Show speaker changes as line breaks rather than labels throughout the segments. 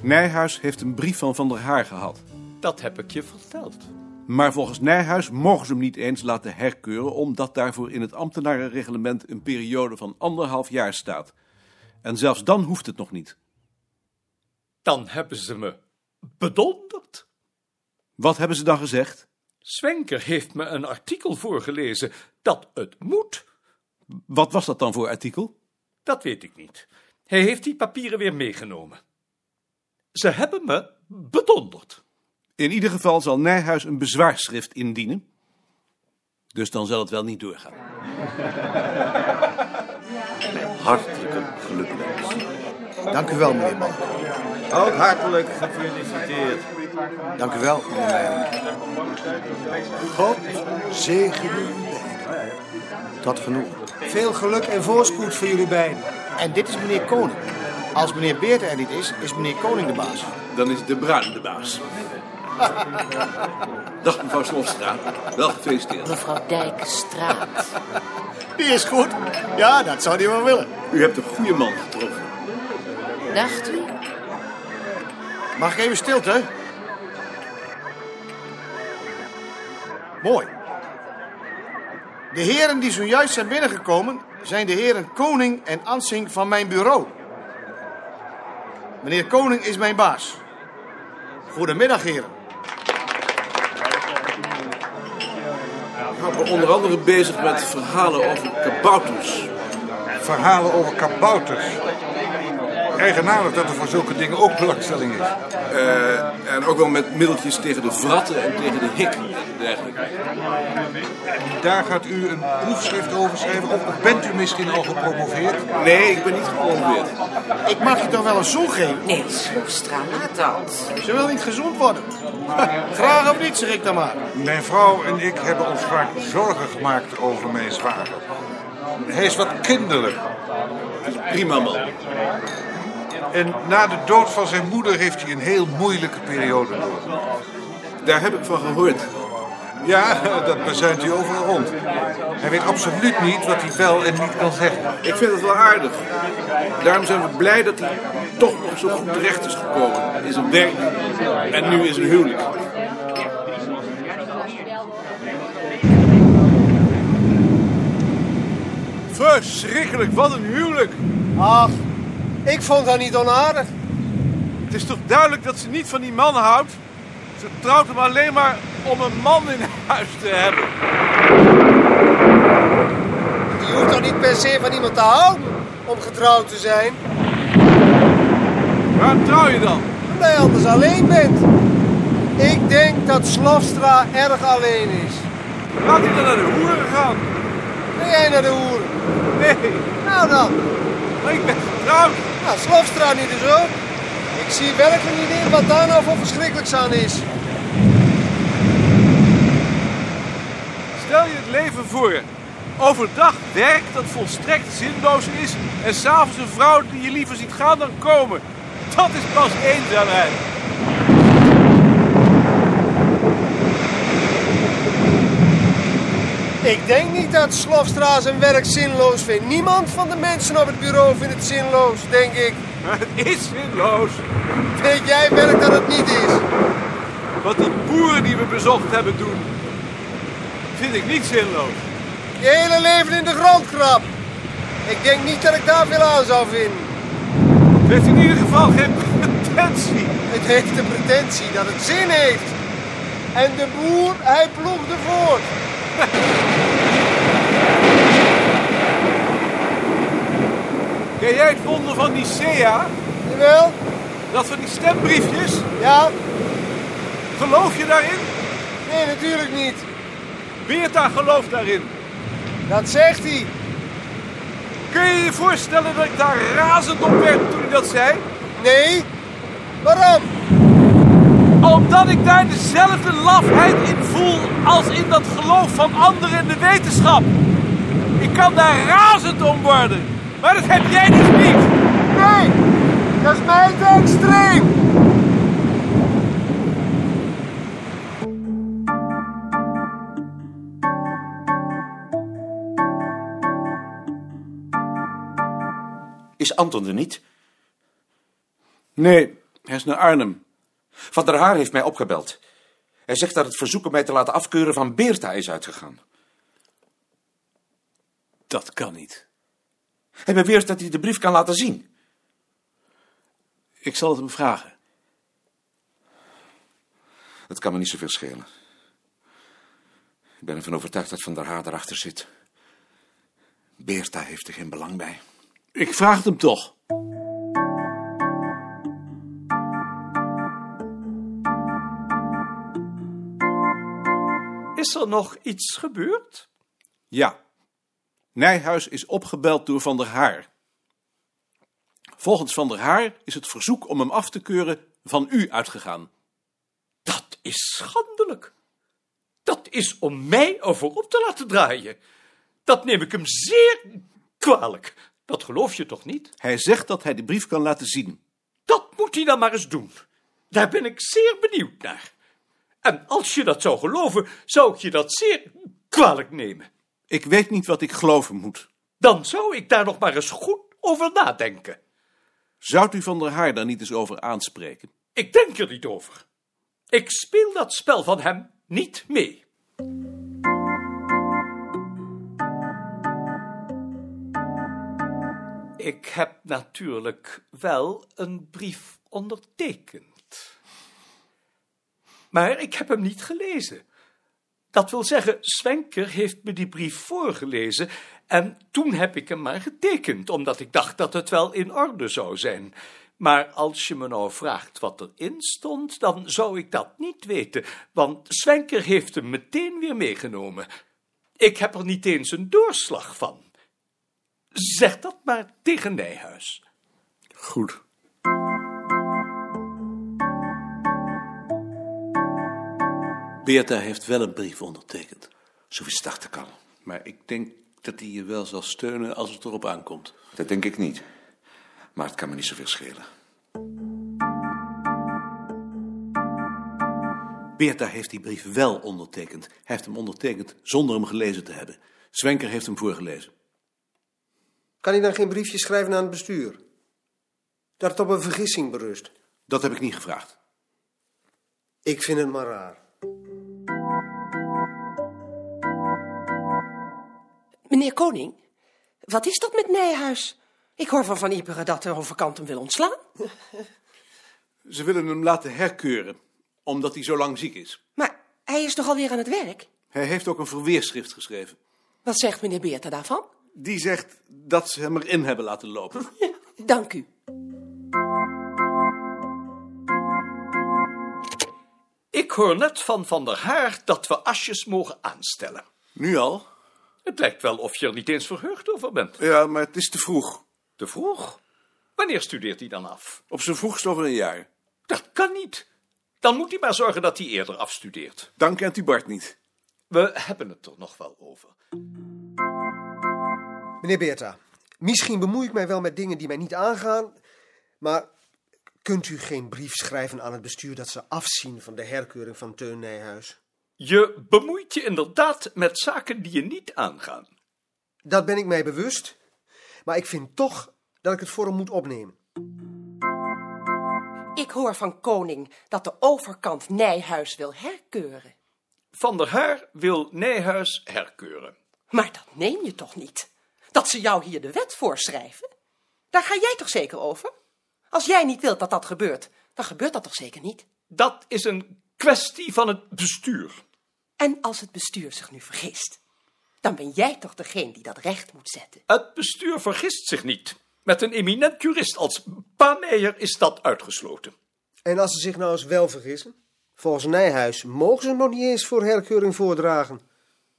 Nijhuis heeft een brief van Van der Haar gehad.
Dat heb ik je verteld.
Maar volgens Nijhuis mogen ze hem niet eens laten herkeuren, omdat daarvoor in het ambtenarenreglement een periode van anderhalf jaar staat. En zelfs dan hoeft het nog niet.
Dan hebben ze me bedonderd.
Wat hebben ze dan gezegd?
Zwenker heeft me een artikel voorgelezen dat het moet.
Wat was dat dan voor artikel?
Dat weet ik niet. Hij heeft die papieren weer meegenomen. Ze hebben me bedonderd.
In ieder geval zal Nijhuis een bezwaarschrift indienen. Dus dan zal het wel niet doorgaan.
Hartelijke gelukwensen.
Dank u wel, meneer Man.
Ook hartelijk gefeliciteerd.
Dank u wel, meneer Meijer. God zegen u beiden. Tot genoeg. Veel geluk en voorspoed voor jullie beiden. En dit is meneer Koning. Als meneer Beert er niet is, is meneer Koning de baas.
Dan is de bruin de baas. Dag mevrouw Slofstra. Wel gefeliciteerd.
Mevrouw Dijkstraat.
Die is goed. Ja, dat zou die wel willen.
U hebt een goede man getroffen.
Dacht u?
Mag ik even stilte? Mooi. De heren die zojuist zijn binnengekomen zijn de heren Koning en Ansing van mijn bureau. Meneer Koning is mijn baas. Goedemiddag, heren.
We onder andere bezig met verhalen over kabouters.
Verhalen over kabouters. Eigenaardig dat er voor zulke dingen ook belangstelling is.
Eh, en ook wel met middeltjes tegen de vratten en tegen de hikken en dergelijke.
Daar gaat u een proefschrift over schrijven. Of of bent u misschien al gepromoveerd?
Nee, ik ben niet gepromoveerd.
Ik mag je toch wel een zoen geven?
Nee, Sloestra, laat dat.
Ze wil niet gezond worden. Graag of niet, zeg ik dan maar.
Mijn vrouw en ik hebben ons vaak zorgen gemaakt over mijn zwager. Hij is wat kinderlijk.
Prima man.
En na de dood van zijn moeder heeft hij een heel moeilijke periode door.
Daar heb ik van gehoord.
Ja, dat bezuint hij overal rond. Hij weet absoluut niet wat hij wel en niet kan zeggen.
Ik vind het wel aardig. Daarom zijn we blij dat hij toch nog zo goed terecht is gekomen. In zijn werk en nu in zijn huwelijk. Verschrikkelijk, wat een huwelijk.
Ach, ik vond haar niet onaardig.
Het is toch duidelijk dat ze niet van die man houdt? Ze trouwt hem alleen maar om een man in huis te hebben.
Je hoeft toch niet per se van iemand te houden om getrouwd te zijn?
Waarom trouw je dan?
Omdat je anders alleen bent. Ik denk dat Slofstra erg alleen is.
Laat hij dan naar de hoeren gaan.
Ben jij naar de hoeren?
Nee,
Nou dan,
maar ik ben getrouwd.
nou, Slofstra niet dus ook. Ik zie werkelijk niet in wat daar nou voor verschrikkelijks aan is.
Stel je het leven voor. Overdag werk dat volstrekt zinloos is en s'avonds een vrouw die je liever ziet gaan dan komen. Dat is pas eenzaamheid.
Ik denk niet dat Slofstra zijn werk zinloos vindt. Niemand van de mensen op het bureau vindt het zinloos, denk ik.
Maar het is zinloos.
Weet jij werk dat het niet is?
Wat die boeren die we bezocht hebben doen, vind ik niet zinloos.
Je hele leven in de grond krap. Ik denk niet dat ik daar veel aan zou vinden.
Het heeft in ieder geval geen pretentie.
Het heeft de pretentie dat het zin heeft. En de boer, hij ploegde voort.
Ken jij het wonder van Nicea?
Jawel?
Dat van die stembriefjes?
Ja?
Geloof je daarin?
Nee, natuurlijk niet.
Beerta gelooft daarin.
Dat zegt hij.
Kun je je voorstellen dat ik daar razend op werd toen hij dat zei?
Nee? Waarom?
Omdat ik daar dezelfde lafheid in voel als in dat geloof van anderen in de wetenschap. Ik kan daar razend om worden. Maar dat heb jij dus niet.
Nee! Dat is mij te extreem.
Is Anton er niet?
Nee,
Hij is naar Arnhem. Van der Haar heeft mij opgebeld. Hij zegt dat het verzoek om mij te laten afkeuren van Beerta is uitgegaan.
Dat kan niet.
Hij beweert dat hij de brief kan laten zien.
Ik zal het hem vragen.
Het kan me niet zoveel schelen. Ik ben ervan overtuigd dat Van der Haar erachter zit. Beerta heeft er geen belang bij.
Ik vraag het hem toch. Is er nog iets gebeurd?
Ja. Nijhuis is opgebeld door Van der Haar. Volgens Van der Haar is het verzoek om hem af te keuren van u uitgegaan.
Dat is schandelijk. Dat is om mij over op te laten draaien. Dat neem ik hem zeer kwalijk. Dat geloof je toch niet?
Hij zegt dat hij de brief kan laten zien.
Dat moet hij dan maar eens doen. Daar ben ik zeer benieuwd naar. En als je dat zou geloven, zou ik je dat zeer kwalijk nemen.
Ik weet niet wat ik geloven moet.
Dan zou ik daar nog maar eens goed over nadenken.
Zou u Van der Haar daar niet eens over aanspreken?
Ik denk er niet over. Ik speel dat spel van hem niet mee. Ik heb natuurlijk wel een brief ondertekend. Maar ik heb hem niet gelezen. Dat wil zeggen, Swenker heeft me die brief voorgelezen en toen heb ik hem maar getekend, omdat ik dacht dat het wel in orde zou zijn. Maar als je me nou vraagt wat erin stond, dan zou ik dat niet weten, want Swenker heeft hem meteen weer meegenomen. Ik heb er niet eens een doorslag van. Zeg dat maar tegen Nijhuis.
Goed. Beerta heeft wel een brief ondertekend.
Zoiets dacht ik al.
Maar ik denk dat hij je wel zal steunen als het erop aankomt.
Dat denk ik niet. Maar het kan me niet zoveel schelen.
Beerta heeft die brief wel ondertekend. Hij heeft hem ondertekend zonder hem gelezen te hebben. Zwenker heeft hem voorgelezen.
Kan hij dan geen briefje schrijven aan het bestuur? Dat het op een vergissing berust.
Dat heb ik niet gevraagd.
Ik vind het maar raar.
Meneer Koning, wat is dat met Nijhuis? Ik hoor van Van Ieperen dat de overkant hem wil ontslaan.
Ze willen hem laten herkeuren, omdat hij zo lang ziek is.
Maar hij is toch alweer aan het werk?
Hij heeft ook een verweerschrift geschreven.
Wat zegt meneer Beerta daarvan?
Die zegt dat ze hem erin hebben laten lopen.
Dank u.
Ik hoor net van Van der Haar dat we asjes mogen aanstellen.
Nu al?
Het lijkt wel of je er niet eens verheugd over bent.
Ja, maar het is te vroeg.
Te vroeg. Wanneer studeert hij dan af?
Op zijn vroegst over een jaar.
Dat kan niet. Dan moet hij maar zorgen dat hij eerder afstudeert.
Dan kent u Bart niet.
We hebben het er nog wel over.
Meneer Beerta, misschien bemoei ik mij wel met dingen die mij niet aangaan, maar kunt u geen brief schrijven aan het bestuur dat ze afzien van de herkeuring van Teun Nijhuis?
Je bemoeit je inderdaad met zaken die je niet aangaan.
Dat ben ik mij bewust, maar ik vind toch dat ik het voor hem moet opnemen.
Ik hoor van Koning dat de overkant Nijhuis wil herkeuren.
Van der Haar wil Nijhuis herkeuren.
Maar dat neem je toch niet? Dat ze jou hier de wet voorschrijven? Daar ga jij toch zeker over? Als jij niet wilt dat dat gebeurt, dan gebeurt dat toch zeker niet?
Dat is een kwestie van het bestuur.
En als het bestuur zich nu vergist, dan ben jij toch degene die dat recht moet zetten.
Het bestuur vergist zich niet. Met een eminent jurist als Paameijer is dat uitgesloten.
En als ze zich nou eens wel vergissen? Volgens Nijhuis mogen ze hem nog niet eens voor herkeuring voordragen.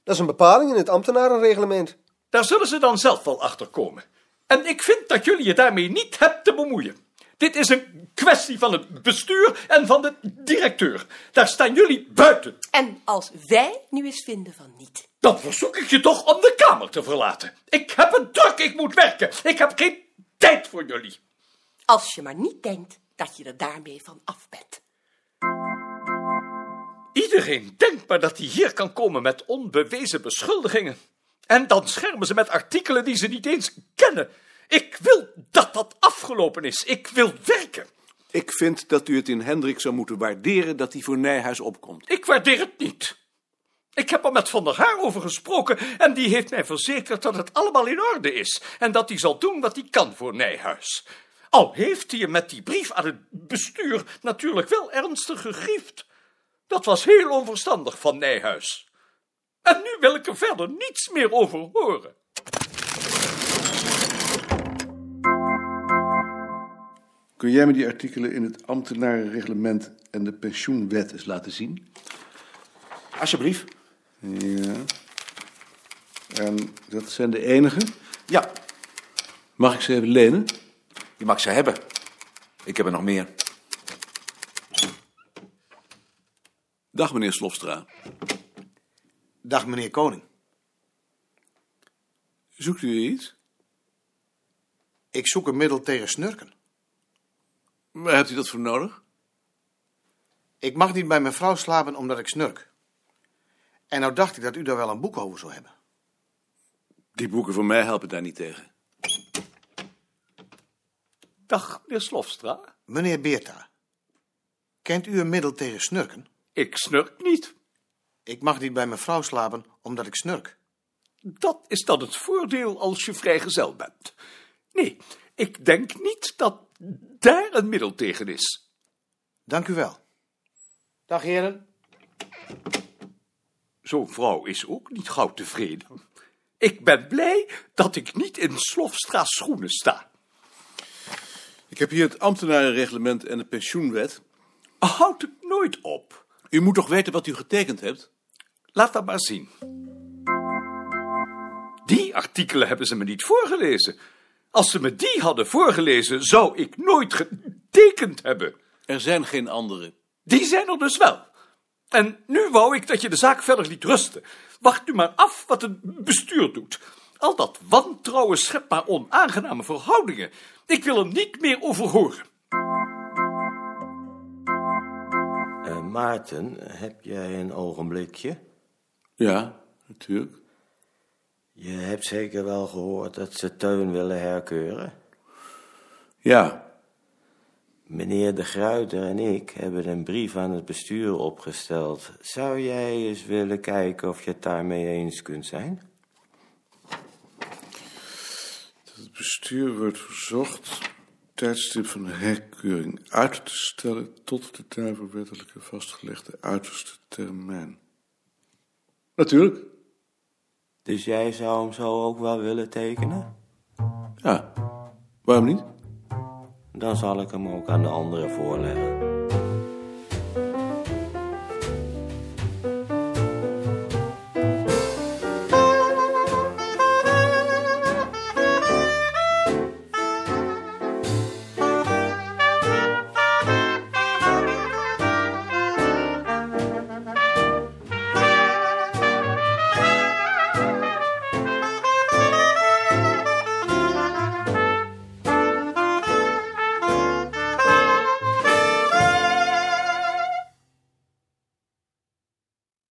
Dat is een bepaling in het ambtenarenreglement.
Daar zullen ze dan zelf wel achter komen. En ik vind dat jullie je daarmee niet hebt te bemoeien. Dit is een kwestie van het bestuur en van de directeur. Daar staan jullie buiten.
En als wij nu eens vinden van niet.
Dan verzoek ik je toch om de kamer te verlaten. Ik heb het druk, ik moet werken. Ik heb geen tijd voor jullie.
Als je maar niet denkt dat je er daarmee van af bent.
Iedereen denkt maar dat hij hier kan komen met onbewezen beschuldigingen. En dan schermen ze met artikelen die ze niet eens kennen. Ik wil dat dat afgelopen is. Ik wil werken.
Ik vind dat u het in Hendrik zou moeten waarderen dat hij voor Nijhuis opkomt.
Ik waardeer het niet. Ik heb er met Van der Haar over gesproken en die heeft mij verzekerd dat het allemaal in orde is en dat hij zal doen wat hij kan voor Nijhuis. Al heeft hij je met die brief aan het bestuur natuurlijk wel ernstig gegriefd. Dat was heel onverstandig van Nijhuis. En nu wil ik er verder niets meer over horen.
Kun jij me die artikelen in het ambtenarenreglement en de pensioenwet eens laten zien?
Alsjeblieft.
Ja. En dat zijn de enige?
Ja.
Mag ik ze even lenen?
Je mag ze hebben. Ik heb er nog meer.
Dag, meneer Slofstra.
Dag, meneer Koning.
Zoekt u iets?
Ik zoek een middel tegen snurken.
Waar hebt u dat voor nodig?
Ik mag niet bij mijn vrouw slapen omdat ik snurk. En nou dacht ik dat u daar wel een boek over zou hebben.
Die boeken voor mij helpen daar niet tegen.
Dag, meneer Slofstra.
Meneer Beerta, kent u een middel tegen snurken?
Ik snurk niet.
Ik mag niet bij mijn vrouw slapen omdat ik snurk.
Dat is dan het voordeel als je vrijgezel bent. Nee, ik denk niet dat daar een middel tegen is.
Dank u wel. Dag heren.
Zo'n vrouw is ook niet gauw tevreden. Ik ben blij dat ik niet in Slofstra's schoenen sta.
Ik heb hier het ambtenarenreglement en de pensioenwet.
Houd het nooit op.
U moet toch weten wat u getekend hebt?
Laat dat maar zien. Die artikelen hebben ze me niet voorgelezen. Als ze me die hadden voorgelezen, zou ik nooit getekend hebben.
Er zijn geen andere.
Die zijn er dus wel. En nu wou ik dat je de zaak verder liet rusten. Wacht nu maar af wat het bestuur doet. Al dat wantrouwen schept maar onaangename verhoudingen. Ik wil er niet meer over horen.
Eh, Maarten, heb jij een ogenblikje?
Ja, natuurlijk.
Je hebt zeker wel gehoord dat ze Teun willen herkeuren.
Ja.
Meneer De Gruyter en ik hebben een brief aan het bestuur opgesteld. Zou jij eens willen kijken of je het daarmee eens kunt zijn?
Het bestuur wordt verzocht tijdstip van de herkeuring uit te stellen tot de daarvoor wettelijke vastgelegde uiterste termijn. Natuurlijk.
Dus jij zou hem zo ook wel willen tekenen?
Ja. Waarom niet?
Dan zal ik hem ook aan de anderen voorleggen.